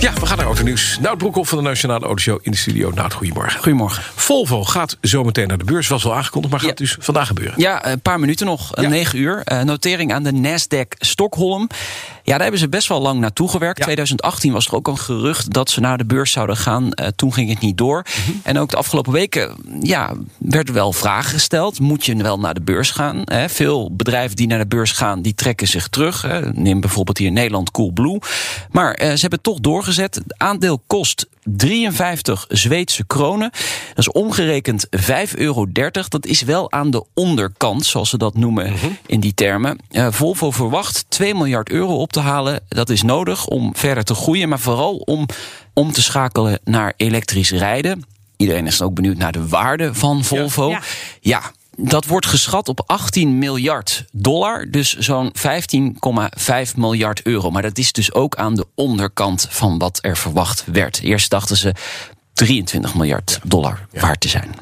Ja, we gaan naar autonieuws. Nout Broekhoff van de Nationale Autoshow in de studio. Nout, goedemorgen. Goedemorgen. Volvo gaat zometeen naar de beurs. Was al aangekondigd, maar gaat Ja. dus vandaag gebeuren. Ja, eh, een paar minuten nog. Ja. 9 uur. Eh, notering aan de Nasdaq Stockholm. Ja, daar hebben ze best wel lang naartoe gewerkt. Ja. 2018 was er ook een gerucht dat ze naar de beurs zouden gaan. Eh, toen ging het niet door. Mhm. En ook de afgelopen weken ja, werd er wel vragen gesteld. Moet je wel naar de beurs gaan? Hè? Veel bedrijven die naar de beurs gaan, die trekken zich terug. Hè? Neem bijvoorbeeld hier in Nederland Coolblue. Maar eh, ze hebben het toch doorgezet. Het aandeel kost 53 Zweedse kronen. Dat is omgerekend 5,30 euro. Dat is wel aan de onderkant, zoals ze dat noemen in die termen. Eh, Volvo verwacht 2 miljard euro op te halen. Dat is nodig om verder te groeien, maar vooral om om te schakelen naar elektrisch rijden. Iedereen is dan ook benieuwd naar de waarde van Volvo. Ja. Ja, dat wordt geschat op 18 miljard dollar. Dus zo'n 15,5 miljard euro. Maar dat is dus ook aan de onderkant van wat er verwacht werd. Eerst dachten ze 23 miljard dollar waard te zijn.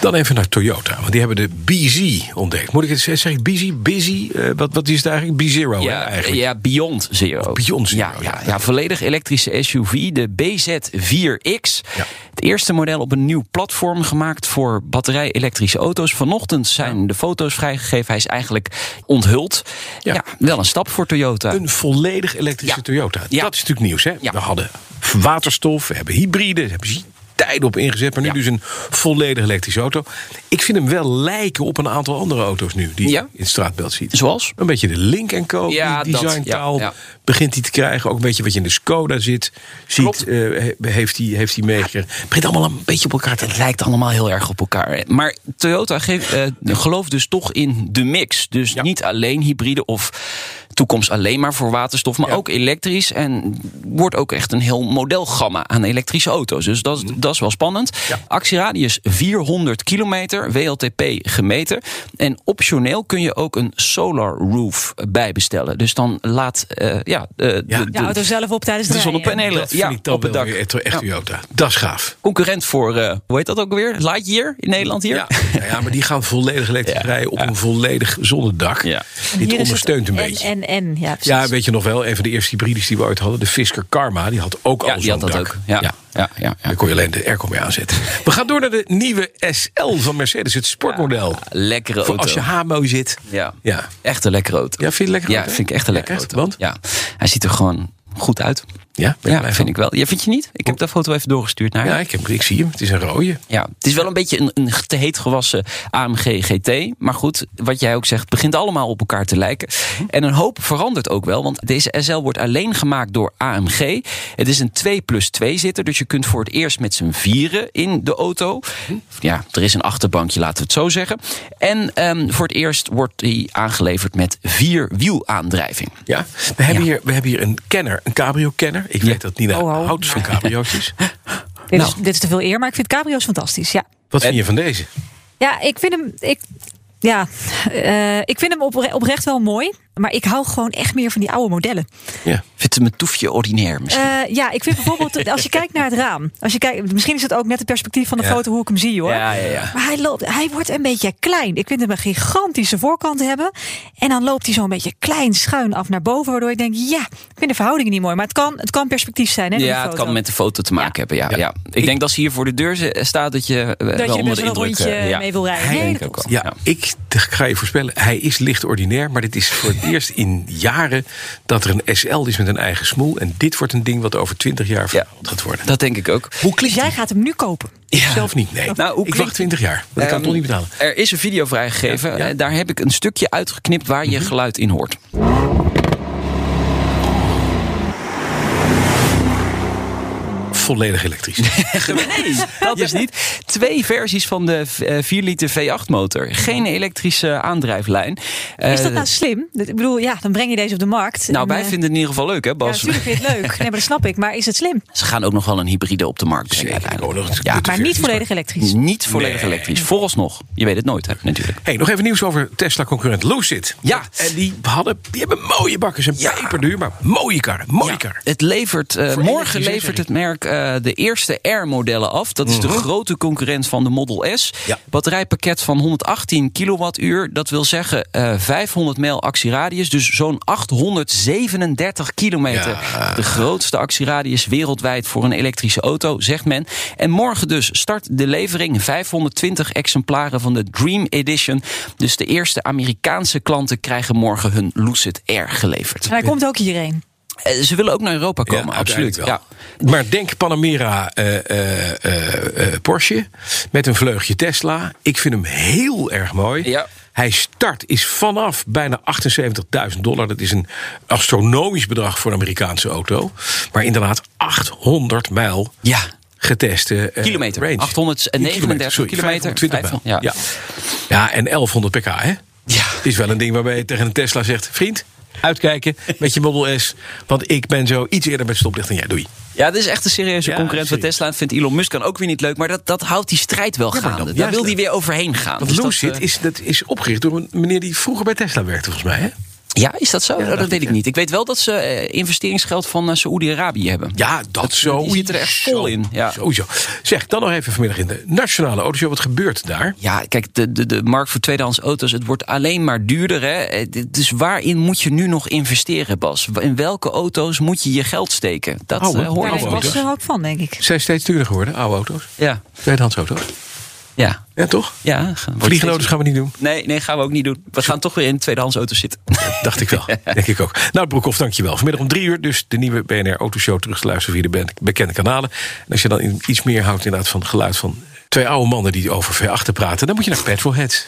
Dan even naar Toyota, want die hebben de BZ ontdekt. Moet ik het zeggen? Zeg ik BZ? Busy? Eh, wat, wat is het eigenlijk? B-Zero hè, eigenlijk. Oh, ja, Beyond Zero. Beyond Zero, Ja, ja, ja. ja, volledig elektrische SUV, de BZ4X. Ja. Het eerste model op een nieuw platform gemaakt voor batterij-elektrische auto's. Vanochtend zijn de foto's vrijgegeven. Hij is eigenlijk onthuld. Ja. Ja, wel een stap voor Toyota. Een volledig elektrische Ja. Toyota. Ja. Dat is natuurlijk nieuws, hè? Ja. We hadden waterstof, we hebben hybride, we hebben ze tijd op ingezet. Maar nu Ja. dus een volledig elektrische auto. Ik vind hem wel lijken op een aantal andere auto's nu die Ja. je in het straatbeeld ziet. Zoals? Een beetje de Link en Co. Ja, die dat, designtaal ja, ja. begint hij te krijgen. Ook een beetje wat je in de Skoda zit, ziet, Klopt. eh, he- heeft hij heeft hij meegekregen. Het begint allemaal een beetje op elkaar te Het lijkt allemaal heel erg op elkaar. Maar Toyota geeft, eh, gelooft dus toch in de mix. Dus Ja. niet alleen hybride of toekomst alleen maar voor waterstof, maar Ja. ook elektrisch. En wordt ook echt een heel modelgamma aan elektrische auto's. Dus dat, is- dat is wel spannend. Mhm. Ja. Actieradius 400 kilometer, WLTP gemeten. En optioneel kun je ook een solar roof bijbestellen. Dus dan laat eh, ja, eh, de, De auto de, zelf op tijdens de de rijden. zonnepanelen Dat vind ja, ik dan op het wel dak. weer echt, echt Ja. Toyota. Dat is gaaf. Concurrent voor, eh, hoe heet dat ook alweer? Lightyear in Nederland hier? Ja, Nou ja, ja, maar die gaan volledig elektrisch Ja, rijden op ja. een volledig zonnedak. Ja. Hier is Dit het ondersteunt een en, beetje. En, en, ja. precies. ja, weet je nog wel, een van de eerste hybrides die we ooit hadden, de Fisker Karma, die had ook Ja, al die zo'n had dat dak. ook. Ja, ja, ja. ja, Daar kon je alleen de airco mee aanzetten. We gaan door naar de nieuwe SL van Mercedes, het sportmodel. Lekkere Voor auto. als je hamo zit. Ja. Ja. Echt een lekkere auto. Ja, vind je het lekker? Ja, vind ik echt een lekkere Echt? auto. Want? Ja, hij ziet er gewoon goed uit. Ja, ben je Ja, blij van? vind ik wel. Ja, vind je niet? Ik heb de foto even doorgestuurd naar je. Ja, ik, heb, ik zie hem. Het is een rode. Ja, het is wel een beetje een, een te heet gewassen AMG GT. Maar goed, wat jij ook zegt, het begint allemaal op elkaar te lijken. En een hoop verandert ook wel, want deze SL wordt alleen gemaakt door AMG. Het is een 2 plus 2 zitter, dus je kunt voor het eerst met z'n vieren in de auto. Ja, er is een achterbankje, laten we het zo zeggen. En ehm, voor het eerst wordt die aangeleverd met vierwielaandrijving. Ja. We, hebben Ja. Hier, we hebben hier een kenner, een cabrio-kenner. Ik weet dat Nina Oh, oh. houdt van cabriootjes. dit, is, nou. dit is te veel eer, maar ik vind cabrio's fantastisch. Ja, Wat vind je van deze? ja ik vind hem... Ik, ja, eh, ik vind hem opre- oprecht wel mooi. Maar ik hou gewoon echt meer van die oude modellen. Ja. Vindt hem een toefje ordinair misschien? Eh, ja, ik vind bijvoorbeeld, als je kijkt naar het raam. Als je kijkt, misschien is het ook net het perspectief van de foto hoe ik hem zie hoor. Ja, ja, ja. Maar hij, loopt, hij wordt een beetje klein. Ik vind hem een gigantische voorkant hebben. En dan loopt hij zo'n beetje klein schuin af naar boven. Waardoor ik denk, ja, ik vind de verhoudingen niet mooi. Maar het kan, het kan perspectief zijn. Hè, door die Ja, het foto. kan met de foto te maken hebben. Ja, ja. Ik, Ik- denk dat ze hier voor de deur ze- staat dat je eh, je wel er onder best de wel een indruk rondje eh, ja. mee wil rijden. Ik Nee, denk dat ook klopt. wel. Ja, ik d- ga je voorspellen, hij is licht ordinair. Maar dit is voor het eerst in jaren dat er een SL is met een eigen smoel. En dit wordt een ding wat over 20 jaar verhaald gaat worden. Dat denk ik ook. Hoe Dus klinkt jij die? gaat hem nu kopen. Zelf niet, nee. Nou, hoe ik wacht klinkt- 20 jaar, want ik kan het Ehm, toch niet betalen. Er is een video vrijgegeven. Ja, ja. Eh, Daar heb ik een stukje uitgeknipt waar je geluid in hoort. volledig elektrisch. nee, dat is niet. Twee versies van de eh, 4 liter V8 motor. Geen elektrische aandrijflijn. Is dat Eh, nou slim? Dat- Ik bedoel, ja, dan breng je deze op de markt. nou, En, wij eh, vinden het in ieder geval leuk, hè, Ja, Bas? natuurlijk vind je het leuk. Nee, maar dat snap ik. Maar is het slim? Ze gaan ook nog wel een hybride op de markt brengen. Zeker, uiteindelijk. oh, dat is ja, goed. Maar niet volledig elektrisch. niet volledig Nee. elektrisch. Vooralsnog. Je weet het nooit, hè, natuurlijk. Hey, nog even nieuws over Tesla-concurrent Lucid. Ja. En die, hadden, die hebben mooie bakken. Ze zijn peperduur, maar mooie karren. Mooie Ja, karren. het levert, eh, Voor morgen elektrisch, hè, levert sorry. het merk eh, de eerste R-modellen af. Dat is de grote concurrent van de Model S. Mhm. Ja. Batterijpakket van 118 kilowattuur. Dat wil zeggen eh, 500 mijl actieradius. Dus zo'n 837 kilometer. Ja. De grootste actieradius wereldwijd voor een elektrische auto, zegt men. En morgen dus start de levering. 520 exemplaren van de Dream Edition. Dus de eerste Amerikaanse klanten krijgen morgen hun Lucid R geleverd. En hij komt ook hierheen. Eh, Ze willen ook naar Europa Ja, komen, absoluut. uiteindelijk wel. Ja. Maar denk Panamera eh, eh, eh, eh, Porsche met een vleugje Tesla. Ik vind hem heel erg mooi. Ja. Hij start is vanaf bijna 78.000 dollar. Dat is een astronomisch bedrag voor een Amerikaanse auto. Maar inderdaad 800 mijl Ja. geteste eh, Kilometer. range. 839 sorry, kilometer. 520 mijl. Ja. ja, en 1100 pk, hè? Ja. Het is wel een ding waarbij je tegen een Tesla zegt... vriend, uitkijken met je Model S... want ik ben zo iets eerder met stoplicht dan jij. Doei. ja, dit is echt een serieuze Ja, concurrent van serieus. Tesla. Dat vindt Elon Musk dan ook weer niet leuk. Maar dat, dat houdt die strijd wel maar gaande. dat- Daar juist wil hij dat. weer overheen gaan. Want Dus dat, Lucid eh, is, dat is opgericht door een meneer die vroeger bij Tesla werkte, volgens mij. Hè? Ja, is dat zo? Oh, dat dacht weet ik, ik niet. Ik weet wel dat ze eh, investeringsgeld van eh, Saoedi-Arabië hebben. Ja, dat, zo. die zitten er echt vol in, ja. Sowieso. Zeg, dan nog even vanmiddag in de Nationale Autoshow. Wat gebeurt daar? Ja, kijk, de, de, de markt voor tweedehands auto's, het wordt alleen maar duurder. Hè? Eh, d- Dus waarin moet je nu nog investeren, Bas? In welke auto's moet je je geld steken? Dat Oude, eh, hoor Daar oude ik was auto's. wel. Bas er ook van, denk ik. Zijn steeds duurder geworden, oude auto's. Ja, Tweedehands auto's. ja, Ja, toch? ja. gaan- wordt steeds- Vliegenauto's gaan we niet doen. Nee, nee, gaan we ook niet doen. We gaan toch weer in tweedehands auto's zitten. Dacht ik wel. Denk ik ook. Nou, Broekhoff, dankjewel. Vanmiddag om drie uur dus de nieuwe BNR Autoshow terug te luisteren via de ben- bekende kanalen. En als je dan in- iets meer houdt inderdaad van het geluid van twee oude mannen die over V8 praten, dan moet je naar Petrolheads.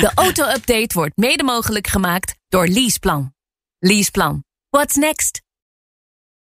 De auto-update wordt mede mogelijk gemaakt door Leaseplan. Leaseplan. What's next?